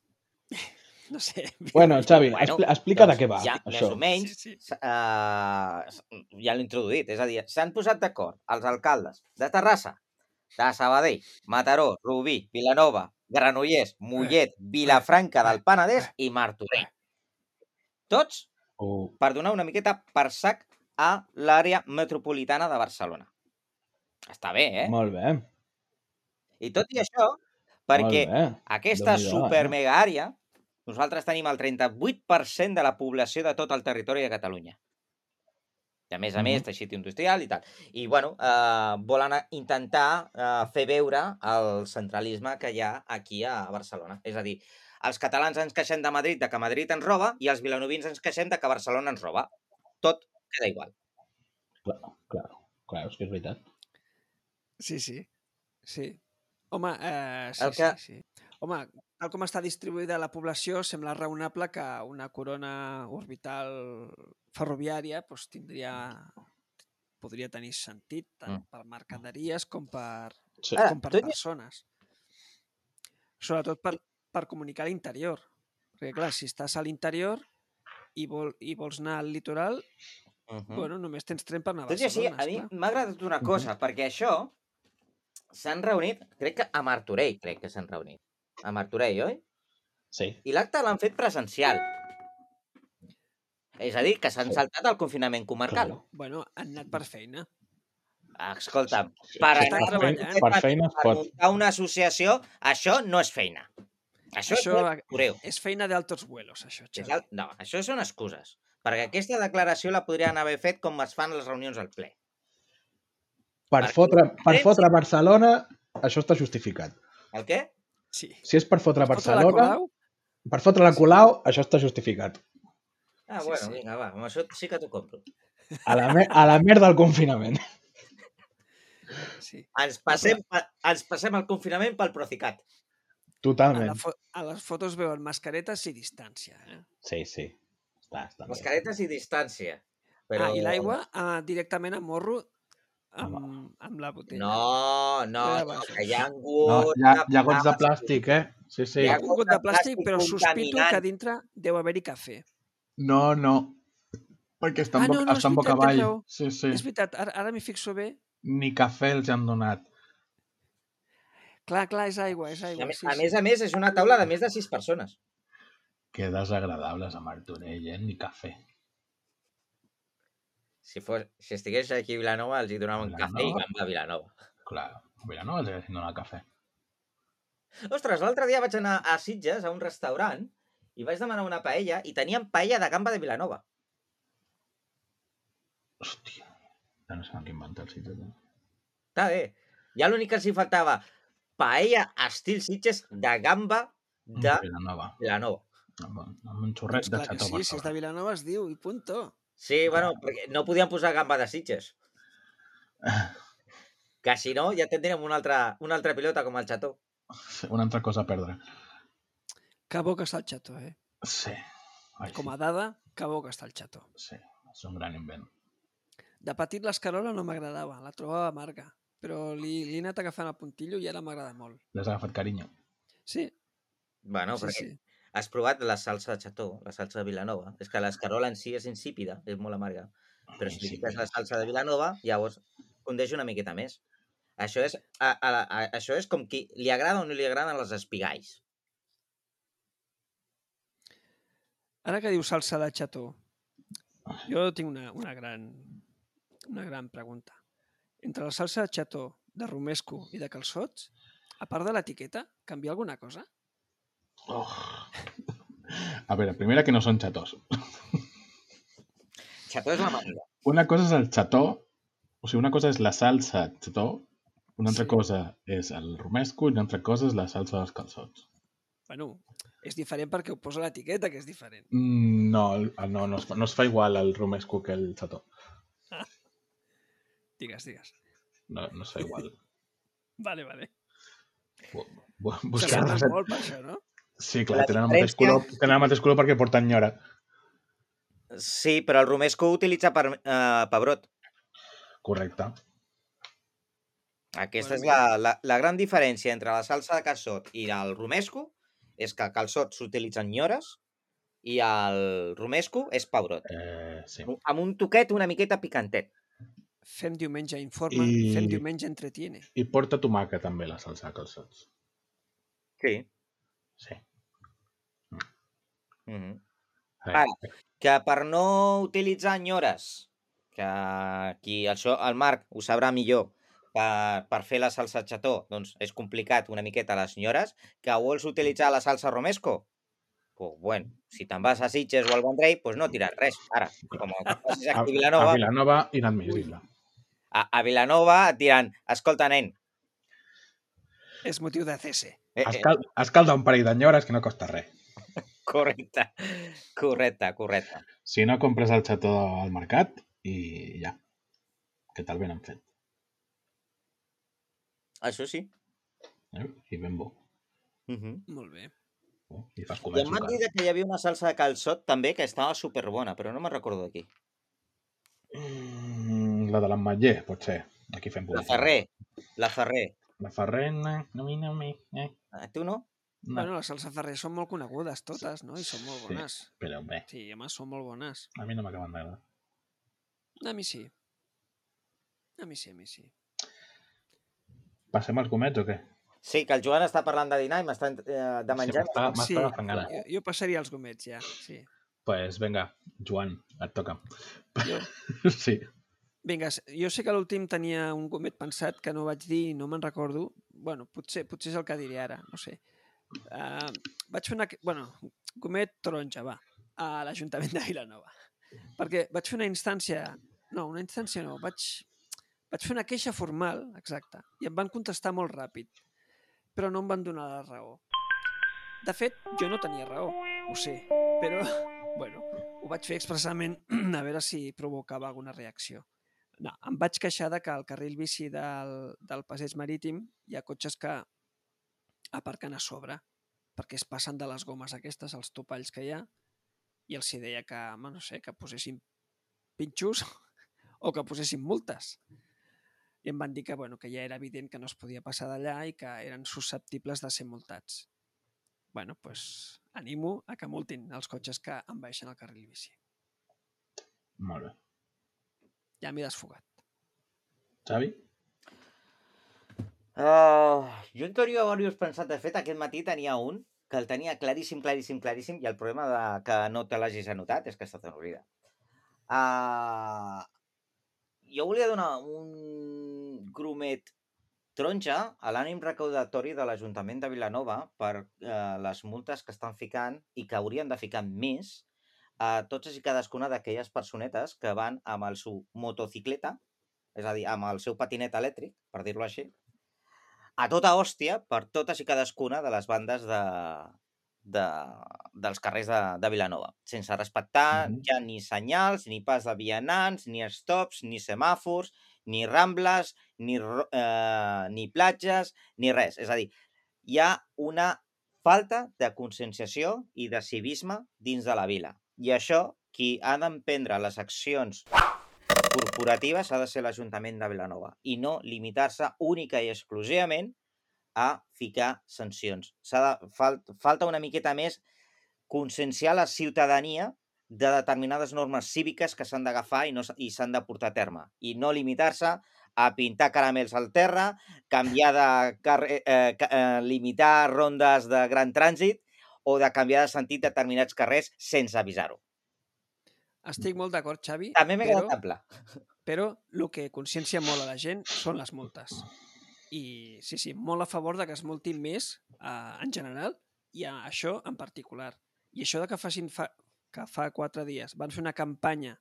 <laughs> No sé. <laughs> birra Bueno, lliure. Xavi, Bueno, expli explica de doncs què va, ja, més això. o Sí, menys, sí. s- eh, s- ja l'he introduït. És a dir, s'han posat d'acord els alcaldes de Terrassa, de Sabadell, Mataró, Rubí, Vilanova, Granollers, Mollet, Vilafranca del Penedès i Martorell. Tots O- per donar una miqueta per sac a l'àrea metropolitana de Barcelona. Està bé, eh? Molt bé, I tot i això, perquè molt bé. aquesta Déu-n'hi-do, eh? super mega àrea, nosaltres tenim el 38% de la població de tot el territori de Catalunya. I a més a més, Mhm. teixit industrial i tal. I, bueno, eh, volen a- intentar eh, fer veure el centralisme que hi ha aquí a Barcelona. És a dir, els catalans ens queixem de Madrid, de que Madrid ens roba, i els vilanovins ens queixem de que Barcelona ens roba. Tot queda igual. Clar, és que és veritat. Sí, sí. Sí. Home, eh, sí, El que- sí, sí. Home, tal com està distribuïda la població, sembla raonable que una corona orbital ferroviària doncs, tindria podria tenir sentit tant Mm. per mercaderies com per, Sí. Ara, com per tot i- persones. Sobretot per, per comunicar a l'interior. Perquè, clar, si estàs a l'interior i, vol, i vols anar al litoral, Mhm. bueno, només tens tren per anar a Tot i així, Barcelona, a mi esclar. m'ha agradat una cosa, perquè això s'han reunit, crec que a Martorell, crec que s'han reunit. A Martorell, oi? Sí. I l'acte l'han fet presencial. És a dir, que s'han Sí. saltat el confinament comarcal. Bueno, han anat Mm. per feina. Escolta, Per, Per eh? anar per, feina, treballant. eh? per feina es per pot. muntar una associació, això no és feina. Això, Això- això... és coreu. És feina d'altos vuelos, això, És Xavi. el... No, això són excuses. Perquè aquesta declaració la podrien haver fet com es fan les reunions al ple. Per per- fotre, per Tretze. fotre Barcelona, això està justificat. El què? Sí. Si és per fotre Escolta, la Barcelona, Colau, per fotre la Colau, això està justificat. Ah, Sí, bueno, sí. vinga, va, amb això sí que t'ho compro. A la, mer a la merda del <laughs> confinament. Sí. Ens passem, pe- ens passem el confinament pel A, Procicat. la Totalment. fo a les fotos veuen mascaretes i distància. Eh? Sí, sí. Està, està bé. Mascaretes i distància. Però... Però... Ah, i l'aigua ah, directament a morro amb, Amb- amb la botella. No, no, Allà no, baixo. que hi ha No, gots... hi ha, hi ha gots de plàstic, eh? Sí, sí. Hi Hi ha gots un got de de plàstic, plàstic però sospito contaminant. que a dintre deu haver-hi cafè. No, no. Perquè estan, Ah, boca- no, no, és estan boca veritat, té avall. raó. Sí, Sí. sí. És veritat, ara, ara m'hi fixo bé. Ni cafè els han donat. Clar, clar, és aigua, és A, aigua. me- Sí, a sí. més a més, és una taula de més de sis persones. Que desagradables a Martorell, eh? Ni cafè. Si, fos, si estigués aquí a Vilanova, els hi donava un cafè i Vilanova. gamba a Vilanova. Clar, mira, no els haguessin donat cafè. Ostres, l'altre dia vaig anar a Sitges, a un restaurant, i vaig demanar una paella, i tenien paella de gamba de Vilanova. Hòstia. Ja no saben què inventar el sitio. eh? Està bé. Ja l'únic que els hi faltava, paella estil Sitges de gamba de Vilanova. Vilanova. Amb, amb un xorret Doncs de clar que xató sí, per si és de sobre. Vilanova es diu, i punto. Sí, bueno, perquè no podien posar gamba de Sitges. <laughs> Que si no, ja tindríem una altra, una altra pilota com el xató. Una altra cosa a perdre. Que bo que està el xató, eh? Sí. Ai, Com a dada, que bo que està el xató. sí. És un gran invent. De petit l'escarola no m'agradava, la trobava amarga, però li, li he anat agafant el puntillo i ara m'agrada molt. L'has agafat carinyo. Sí, Bueno, sí, sí. has provat la salsa de xató, la salsa de Vilanova. És que l'escarola en si és insípida, és molt amarga. Però si li fiques la salsa de Vilanova, llavors condeix una miqueta més. Això és, a, a, la- a, això és com qui li agrada o no li agraden les espigais. Ara que dius salsa de xató, jo tinc una, una, gran, una gran pregunta. Entre la salsa de xató, de romesco i de calçots, a part de l'etiqueta, canvia alguna cosa? Oh. <laughs> A veure, primera que no són xatós. Xató és la manera. Una cosa és el xató, o sigui, una cosa és la salsa xató, una altra Sí. cosa és el romesco i una altra cosa és la salsa dels calçots. Bueno, és diferent perquè ho posa l'etiqueta, que és diferent. Mm, No, el- el- no, no es, fa, no es fa igual el romesco que el xató. Digues, digues. No, no es fa <laughs> igual. Vale, vale. Bu- bu- Buscar S'assemblen recet... molt per això, no? Sí, clar, La tenen el, mateix diferència- color, tenen el mateix color perquè porten nyora. Sí, però el romesco ho utilitza per, eh, pebrot. Correcte. Aquesta Bueno, és la, la, la gran diferència entre la salsa de calçot i el romesco, és que el calçot s'utilitza en nyores i el romesco és pebrot. Eh, sí. Amb un toquet una miqueta picantet. Fem diumenge informa, I- fem diumenge entretiene. I porta tomaca també la salsa de calçots. Sí. Sí. Mm -hmm. Eh, Ara. Que per no utilitzar nyores, que aquí això el Marc ho sabrà millor, per, per fer la salsa xató, doncs és complicat una miqueta les nyores, que vols utilitzar la salsa romesco? Pues bueno, si te'n vas a Sitges o al Vendrell, pues no tirar res, ara. Com que <laughs> passis a, aquí a a Vilanova, Vilanova, inadmissible. a, a Vilanova et diran, escolta, nen, És motiu de cese. eh, eh, Escal, escalda un parell d'enyores que no costa res. correcte, correcte, correcte. Si no compres el xató al mercat i ja. Que tal ben han fet. Això sí. Eh? I ben bo. Uh -huh. Molt bé. Eh? I fas I comer em van dir que hi havia una salsa de calçot també que estava superbona, però no me'n recordo d'aquí. Mm, la de l'emmetller, potser. Aquí fem La publicitat. Ferrer, la Ferrer. La Ferrer, no, no, mi, no, mi, eh. Ah, Tu no? no. Bueno, les salses Ferrer són molt conegudes totes, no? I són molt Sí. bones. Però bé, Sí, home, són molt bones. a mi no m'acaben d'agradar. A mi sí. A mi sí, a mi sí. Passem als gomets o què? Sí, que el Joan està parlant de dinar i m'està eh, de menjar. m'està- m'està sí, agafant gana. Jo, jo passaria els gomets ja, sí. pues, vinga, Joan, et toca. Jo, <laughs> sí. vinga, s- jo sé que l'últim tenia un gomet pensat que no vaig dir i no me'n recordo. bueno, potser, potser és el que diré ara, no sé. Uh, vaig fer una... bueno, gomet taronja, va, a l'Ajuntament de Vilanova. Perquè vaig fer una instància... No, una instància no, vaig, vaig fer una queixa formal, exacte, i em van contestar molt ràpid. però no em van donar la raó. De fet, jo no tenia raó, ho sé, però, <laughs> bueno, ho vaig fer expressament <clears throat> a veure si provocava alguna reacció. No, em vaig queixar de que al carril bici del, del passeig marítim hi ha cotxes que aparquen a sobre perquè es passen de les gomes aquestes, els topalls que hi ha, i els hi deia que, home, no sé, que posessin pinxos <laughs> o que posessin multes. I em van dir que, bueno, que ja era evident que no es podia passar d'allà i que eren susceptibles de ser multats. bueno, pues, animo a que multin els cotxes que envaeixen el carril bici. Molt bé. Ja m'he desfogat. Xavi? Uh, jo en teoria ho hauries pensat. De fet, aquest matí tenia un que el tenia claríssim, claríssim, claríssim i el problema de que no te l'hagis anotat és que se t'oblida. Uh, jo volia donar un grumet taronja a l'ànim recaudatori de l'Ajuntament de Vilanova per uh, les multes que estan ficant i que haurien de ficar més a totes i cadascuna d'aquelles personetes que van amb el seu motocicleta, és a dir, amb el seu patinet elèctric, per dir-lo així, a tota hòstia per totes i cadascuna de les bandes de, de, dels carrers de, de Vilanova, sense respectar mm Mhm. -hmm. ja ni senyals, ni pas de vianants, ni stops, ni semàfors, ni rambles, ni, ro- eh, ni platges, ni res. És a dir, hi ha una falta de conscienciació i de civisme dins de la vila. I això, qui ha d'emprendre les accions corporatives ha de ser l'Ajuntament de Vilanova i no limitar-se única i exclusivament a ficar sancions. S'ha de, fal, falta una miqueta més conscienciar la ciutadania de determinades normes cíviques que s'han d'agafar i, no, s- i s'han de portar a terme. I no limitar-se a pintar caramels al terra, canviar de carrer, eh, ca- eh, limitar rondes de gran trànsit o de canviar de sentit determinats carrers sense avisar-ho. Estic molt d'acord, Xavi, També m'he però, quedat en pla. però el que consciència molt a la gent són les multes. I sí, sí, molt a favor de que es multin més eh, en general i a això en particular. I això de que facin fa, que fa quatre dies van fer una campanya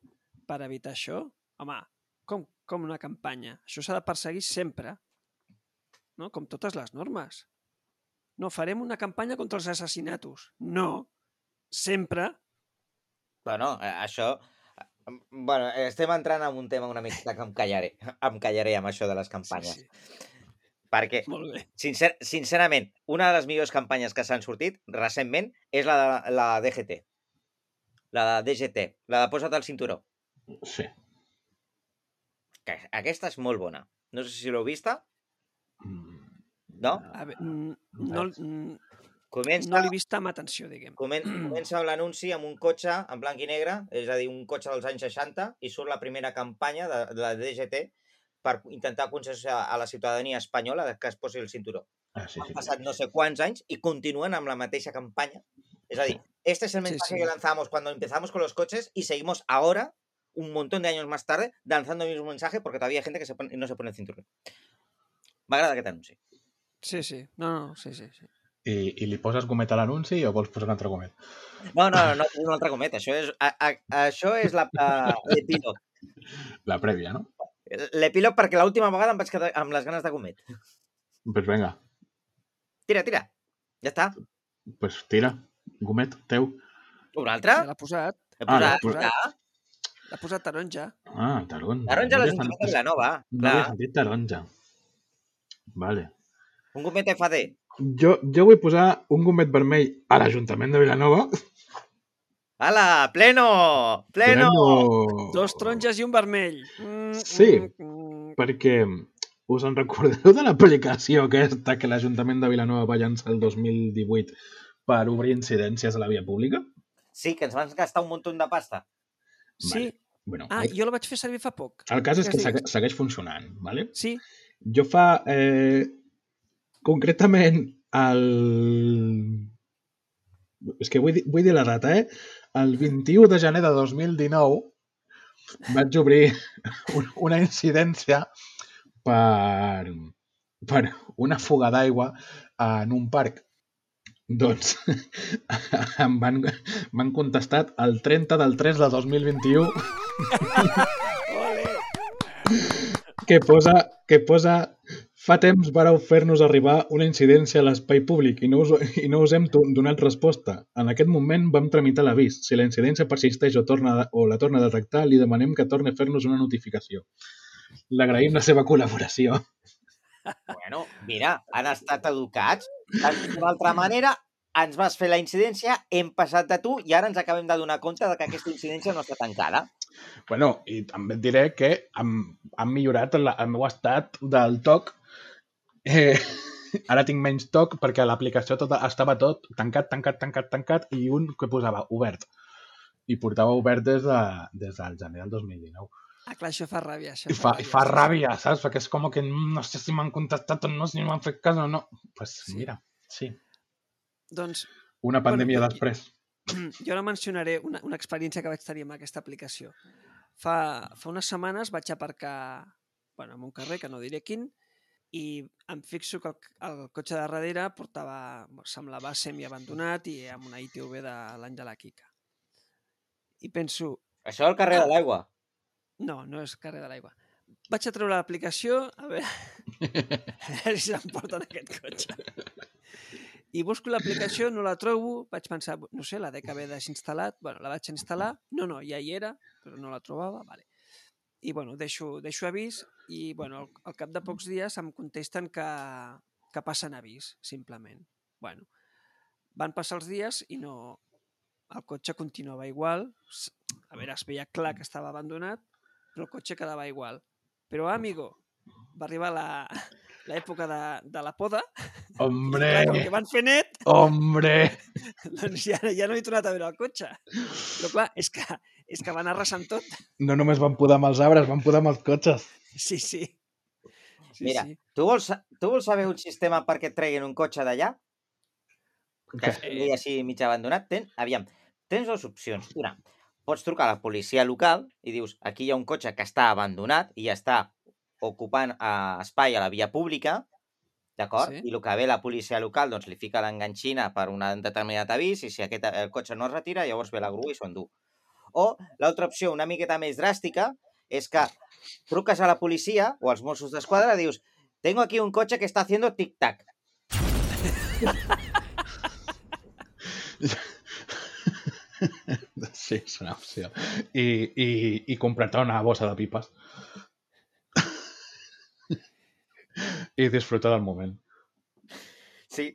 per evitar això, home, com, com una campanya? Això s'ha de perseguir sempre, no? com totes les normes. No farem una campanya contra els assassinatos. No, sempre Bueno, eh, això... eh, Bueno, eh, estem entrant en un tema una miqueta que em callaré. Em callaré amb això de les campanyes. Sí, sí. Perquè, Molt bé. sincer, sincerament, una de les millors campanyes que s'han sortit recentment és la de la DGT. La de DGT. La de Posa't al cinturó. Sí. Que aquesta és molt bona. No sé si l'heu vista. Mm, No? A veure, mm, no, res. mm, Comença, no l'he vist amb atenció, diguem. comen, comença amb l'anunci amb un cotxe en blanc i negre, és a dir, un cotxe dels anys 60, i surt la primera campanya de, de la DGT per intentar conscienciar a la ciutadania espanyola de que es posi el cinturó. Ah, sí, sí. han passat no sé quants anys y continúan amb la mateixa campaña. Es decir, este es el Sí, mensaje sí. que lanzamos cuando empezamos con los coches y seguimos ahora, un montón de años más tarde, lanzando el mismo mensaje porque todavía hay gente que se pone- no se pone el cinturón. Me agrada que te anuncie. Sí, sí. No, no, sí, sí. sí. I, I li poses gomet a l'anunci o vols posar un altre gomet? No, no, no, no altra cometa. Això és, a, a, això és la- a- l'epíleg. La prèvia, no? L'epíleg perquè l'última vegada em vaig quedar amb les ganes de comet. Doncs pues vinga, Tira, tira. Ja està. pues tira. Gomet, teu. Un Ja altre? l'ha posat. He Ah, posat. pues- ja. L'ha posat taronja. Ah, taronja. No havia Taronja a l'Ajuntament de sentit- Vilanova. No havia Clar. sentit taronja. Vale. Un gomet FD. Jo, jo vull posar un gomet vermell a l'Ajuntament de Vilanova. Hala, pleno! Pleno! tirant-lo- Dos taronges i un vermell. Mm, Oh. Sí. Mm, mm. Perquè us en recordeu de l'aplicació aquesta que l'Ajuntament de Vilanova va llançar el 2018 per obrir incidències a la via pública? Sí, que ens van gastar un munt de pasta. Sí. Vale. Bueno, Ah, el, jo la vaig fer servir fa poc. el cas és que digues, segue- digues. segueix funcionant, vale? Sí, Jo fa... Eh, concretament, el... És que vull dir, vull dir la data, eh? El 21 de gener de 2019 vaig obrir <laughs> un- una incidència per, per una fuga d'aigua en un parc. Doncs <laughs> em van- m'han contestat el 30 del 3 de 2021 que posa, que posa Fa temps vareu fer-nos arribar una incidència a l'espai públic i no, us, i no us hem to- donat resposta. En aquest moment vam tramitar l'avís. Si la incidència persisteix o, torna, a- o la torna a detectar, li demanem que torni a fer-nos una notificació. L'agraïm la seva col·laboració. Bueno, mira, han estat educats. Has dit D'una altra manera, ens vas fer la incidència, hem passat de tu i ara ens acabem de donar compte de que aquesta incidència no està tancada. Bueno, i també et diré que han, han millorat la, el meu estat del toc. Eh, <laughs> ara tinc menys toc perquè a l'aplicació tot, estava tot tancat, tancat, tancat, tancat i un que posava obert. I portava obert des, de, des del gener del 2019. Ah, clar, això fa ràbia, això. I fa, i fa sí, sí. ràbia, saps? Perquè és com que "Mm, no sé si m'han contestat o no, si m'han fet cas o no. Doncs pues mira, sí. Doncs Una pandèmia Bueno, i- després. <clears throat> jo ara mencionaré una, una experiència que vaig tenir amb aquesta aplicació. Fa, fa unes setmanes vaig aparcar bueno, en un carrer, que no diré quin, i em fixo que el, el cotxe de darrere portava, semblava semiabandonat i amb una ITV de l'Àngela Quica. I penso, Això al carrer de l'aigua. no, no és carrer de l'aigua. Vaig a treure l'aplicació a veure, <laughs> a veure si s'emporten aquest cotxe. I busco l'aplicació, no la trobo, vaig pensar, no sé, la dec haver desinstal·lat, bueno, la vaig instal·lar, no, no, ja hi era, però no la trobava, vale. I bueno, deixo, deixo avís i bueno, al, al cap de pocs dies em contesten que, que passen avís, simplement. Bueno, van passar els dies i no... El cotxe continuava igual, s- a veure, es veia clar que estava abandonat, però el cotxe quedava igual. Però, amigo, va arribar la- <laughs> l'època de, de la poda, Hombre, Clar, com que van fer net, <laughs> hombre. doncs ja, ja no he tornat a veure el cotxe. Però clar, és que, és que van arrasant tot. <laughs> No només van podar amb els arbres, van podar amb els cotxes. Sí, sí. sí Mira, sí. Tu vols, sa- tu vols saber un sistema perquè et treguin un cotxe d'allà? Que Què? estigui així mig abandonat? Ten, aviam, tens dues opcions. Una, pots trucar a la policia local i dius, aquí hi ha un cotxe que està abandonat i està ocupant eh, espai a la via pública, d'acord? Sí. Sí. I el que ve la policia local, doncs li fica l'enganxina per un determinat avís i si aquest el cotxe no es retira, llavors ve la grua i s'ho endú. O l'altra opció, una miqueta més dràstica, és que truques a la policia o als Mossos d'Esquadra i dius tengo aquí un cotxe que està haciendo tic-tac. Sí, és una opció. I, i, i comprar-te una bossa de pipes. I disfrutar del moment. Sí,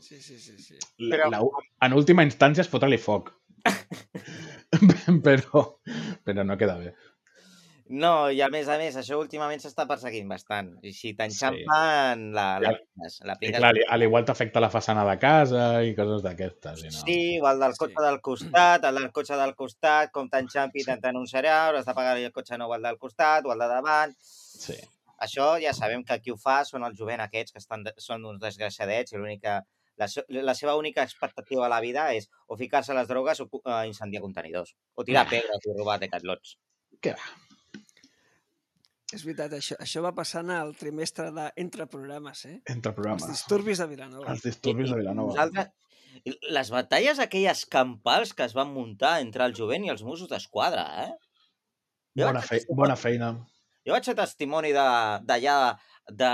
sí, sí, sí, sí. Però- Però... La, en última instància es fotre-li foc. però, però no queda bé. No, i a més a més, això últimament s'està perseguint bastant. I si t'enxampen, la, la, la, la I apliques. clar, li- a l'igual t'afecta la façana de casa i coses d'aquestes. i No. Sí, o el del cotxe Sí. del costat, el del cotxe del costat, com t'enxampi, t'anunciarà, hauràs de pagar el cotxe nou al del costat o al de davant. sí. Això ja sabem que qui ho fa són el jovent aquests, que estan, de- són uns desgraciadets, i l'única... La, se- la seva única expectativa a la vida és o ficar-se a les drogues o cu- eh, incendiar contenidors. O tirar pedres i robar decatlots. És veritat, això, això va passant al trimestre de, entre programes, eh? Entre Els programes. disturbis de Vilanova. Els disturbis de Vilanova. Nosaltres, les batalles aquelles campals que es van muntar entre el jovent i els Mossos d'Esquadra, eh? Jo Bona, vaig fe, ser- bona feina. Jo vaig ser testimoni de- d'allà, de, de,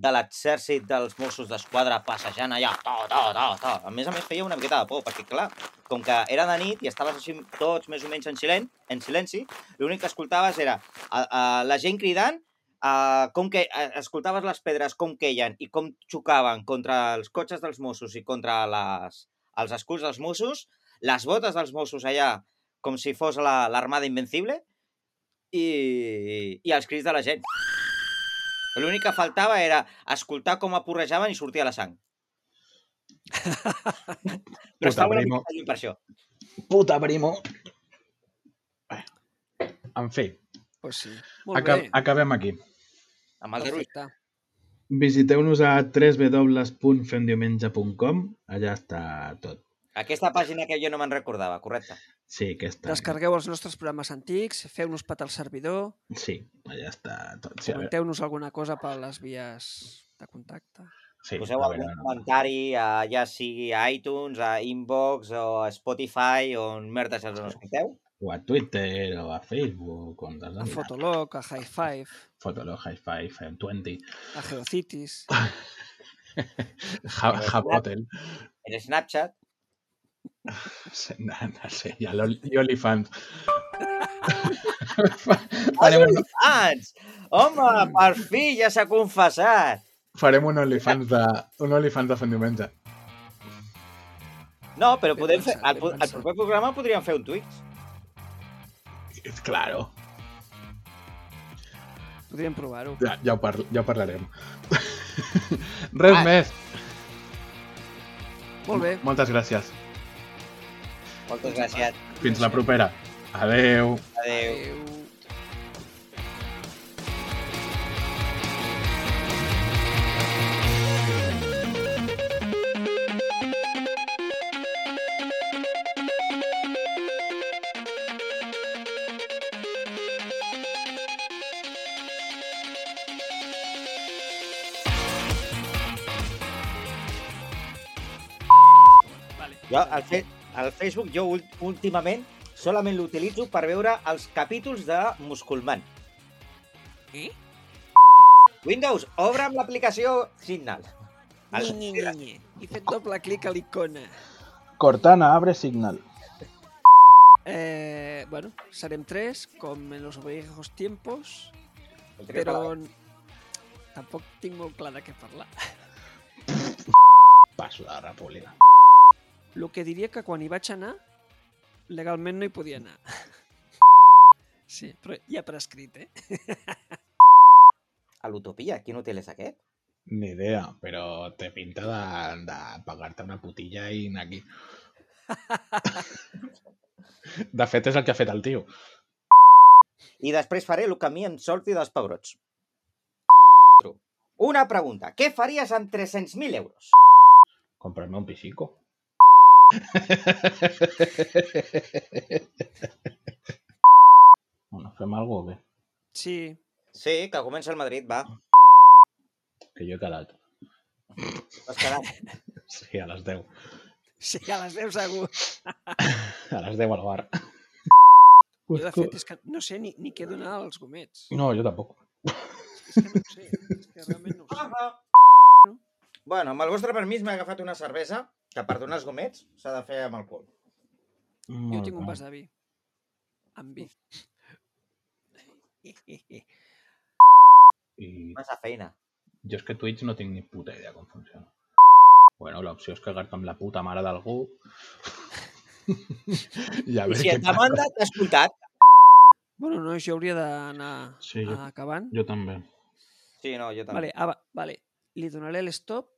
de l'exèrcit dels Mossos d'Esquadra passejant allà, to, to, to, to. A més a més feia una miqueta de por, perquè clar, com que era de nit i estaves així tots més o menys en silenci, en silenci l'únic que escoltaves era a, a, la gent cridant, a, com que a, escoltaves les pedres com queien i com xocaven contra els cotxes dels Mossos i contra les, els escuts dels Mossos, les botes dels Mossos allà com si fos la- l'armada invencible, i, i els crits de la gent. L'únic que faltava era escoltar com aporrejaven i sortia la sang. Però estava una primo. mica lluny per això. Puta primo. Bé. En fi, Pues sí. Molt aca bé. acabem aquí. Amb el derull. Perfecte. Visiteu-nos a www.fendiumenge.com Allà està tot. Aquesta pàgina que jo no me'n recordava, correcte. Sí, aquesta. Descarregueu els nostres programes antics, feu-nos petar el servidor, Sí, allà està tot. Sí, a veure- comenteu-nos alguna cosa per les vies de contacte. sí, Poseu a algun veure. comentari, eh, a, ja sigui a iTunes, a Inbox o a Spotify, on merda se'ls no escolteu. o a Twitter, o a Facebook, o on A Fotolog, a High Five, Fotolog, High Five, eh, <laughs> 20, a Geocities. Hub Hub Hotel, En Snapchat. no, no sé, i a l'Oli- i <laughs> OnlyFans. farem, un, Ants! Home, per fi ja s'ha confessat. farem un OnlyFans de, un OnlyFans de fan diumenge. No, però Ben podem fer, pensat, al, ben po- al pensat. proper programa podríem fer un Twitch. Claro, Podríem provar-ho. ja, ja, ho parl ja ho parlarem. <laughs> Res Ah. més. Molt bé. Moltes gràcies. Moltes gràcies. Fins la propera. Adeu. Adéu. Adéu. Vale. Jo, el, fe, el Facebook, jo ul- últimament, solament l'utilitzo per veure els capítols de Musculman. Eh? Windows, obre'm l'aplicació Signal. El, Nye, nye, nye. He fet doble clic a l'icona. Cortana abre Signal. Eh, bueno, serem tres, com en los viejos tiempos, el trio però català. n- tampoc tinc molt clar de què parlar. Passo de la república. El que diria que quan hi vaig anar, legalment no hi podia anar. Sí, però ja prescrit, eh? A l'Utopia, quin hotel és aquest? Ni idea, però té pinta de, de pagar-te una putilla i anar aquí. De fet, és el que ha fet el tio. I després faré el que a mi em sorti dels pebrots. Una pregunta. Què faries amb 300.000 euros? Comprarme un pisico. Bueno, fem alguna cosa bé, Sí, Sí, que comença el Madrid, va. que jo he quedat. Has <laughs> quedat. Sí, a les 10. sí, a les 10 segur. A les 10 al bar. Jo, de fet, és que no sé ni, ni què donar als gomets. No, jo tampoc. És que no ho sé, és que realment no ho sé. Ah, Bueno, amb el vostre permís m'he agafat una cervesa que per donar els gomets s'ha de fer amb alcohol. Jo tinc un vas de vi. Amb vi. I Massa feina. Jo és que Twitch no tinc ni puta idea com funciona. Bueno, l'opció és cagar-te amb la puta mare d'algú. I a I veure si què et passa. demanda, t'ha escoltat. Bueno, no, jo hauria d'anar Sí, jo- acabant. Jo també. Sí, no, jo també. Vale, ah, va- vale. Li donaré l'stop